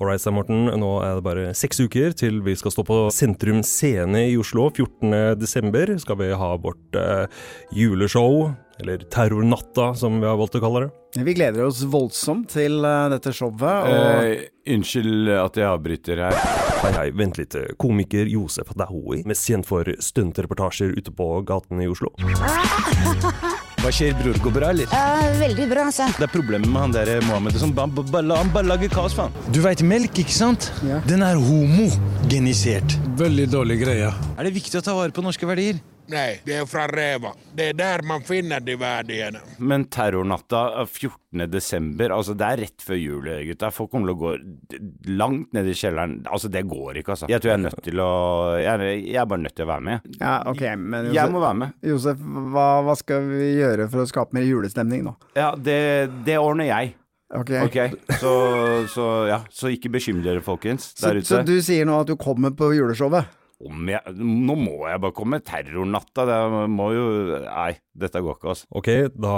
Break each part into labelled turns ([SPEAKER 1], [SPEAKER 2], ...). [SPEAKER 1] Alright, Stein Morten. Nå er det bare seks uker til vi skal stå på Sentrum Scene i Oslo. 14.12. skal vi ha vårt eh, juleshow, eller Terrornatta som vi har valgt å kalle det.
[SPEAKER 2] Vi gleder oss voldsomt til eh, dette showet. Og
[SPEAKER 3] Eh, unnskyld at jeg avbryter her.
[SPEAKER 1] Hei, hei, vent litt. Komiker Josef Dahoui, mest kjent for stuntreportasjer ute på gatene i Oslo.
[SPEAKER 4] Hva skjer, bror? Går bra, eller?
[SPEAKER 5] Eh, veldig bra, altså.
[SPEAKER 4] Det er problemet med han der eh, Mohammed. og sånn. Ba- ba- ba- la- Han bare lager kaos, faen. Du veit melk, ikke sant?
[SPEAKER 2] Ja.
[SPEAKER 4] Den er homogenisert.
[SPEAKER 6] Veldig dårlig greie.
[SPEAKER 4] Er det viktig å ta vare på norske verdier?
[SPEAKER 7] Nej, det är från Reva. Det är där man finner de värdena.
[SPEAKER 3] Men terrornatta eh, 14. desember, altså det er rett før jul, gutta. Folk kommer til å gå d- langt ned i kjelleren. Altså, det går ikke, altså. Jeg tror jeg er nødt til å Jeg er, jeg er bare nødt til å være
[SPEAKER 4] Altså-
[SPEAKER 3] med.
[SPEAKER 2] ja, ok, men
[SPEAKER 3] Jeg må
[SPEAKER 2] Josef,
[SPEAKER 3] være med.
[SPEAKER 2] Josef hva, hva skal vi gjøre for å skape mer julestemning nå?
[SPEAKER 3] Ja, det, det ordner jeg.
[SPEAKER 2] Ok,
[SPEAKER 3] Ok, så, så ja. Så ikke bekymre dere, folkens,
[SPEAKER 2] Så,
[SPEAKER 3] der ute.
[SPEAKER 2] så du sier nå at du kommer på juleshowet?
[SPEAKER 3] Om jeg, nå må jeg bare komme. Terrornatta, det må jo Nei, dette går ikke, altså.
[SPEAKER 1] Ok, da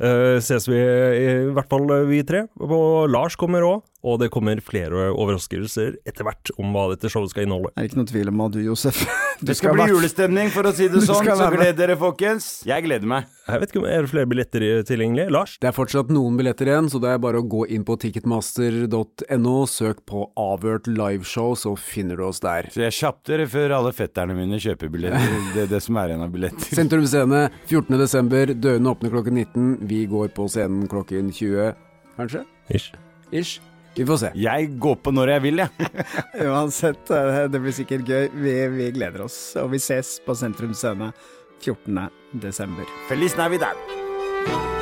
[SPEAKER 1] eh, ses vi i hvert fall eh, vi tre. Og Lars kommer òg. Og det kommer flere overraskelser etter hvert om hva dette showet skal inneholde.
[SPEAKER 2] Det er ikke noe tvil om at du, Josef Du
[SPEAKER 3] Det skal bli
[SPEAKER 2] være-
[SPEAKER 3] julestemning, for å si det
[SPEAKER 2] Du
[SPEAKER 3] sånn.
[SPEAKER 2] skal
[SPEAKER 3] Så
[SPEAKER 2] være
[SPEAKER 3] gled
[SPEAKER 2] med.
[SPEAKER 3] dere, folkens. Jeg gleder meg.
[SPEAKER 1] Jeg vet ikke om Er det flere billetter i- tilgjengelig? Lars?
[SPEAKER 6] Det er fortsatt noen billetter igjen, så det er bare å gå inn på ticketmaster.no, søk på avhørt liveshow, så finner du oss der.
[SPEAKER 3] Så jeg kjapp dere før alle fetterne mine kjøper billetter. Det er det som er igjen av billetter.
[SPEAKER 6] Sentrum Scene 14.12. Dørene åpner klokken 19. Vi går på scenen klokken 20, kanskje?
[SPEAKER 1] Ish.
[SPEAKER 6] Ish. Vi får se.
[SPEAKER 3] Jeg går på når jeg vil, jeg.
[SPEAKER 2] Uansett, eh, det blir sikkert gøy. Vi, vi gleder oss. Og vi ses på Sentrum Scene 14. desember.
[SPEAKER 3] Feliz Navidad.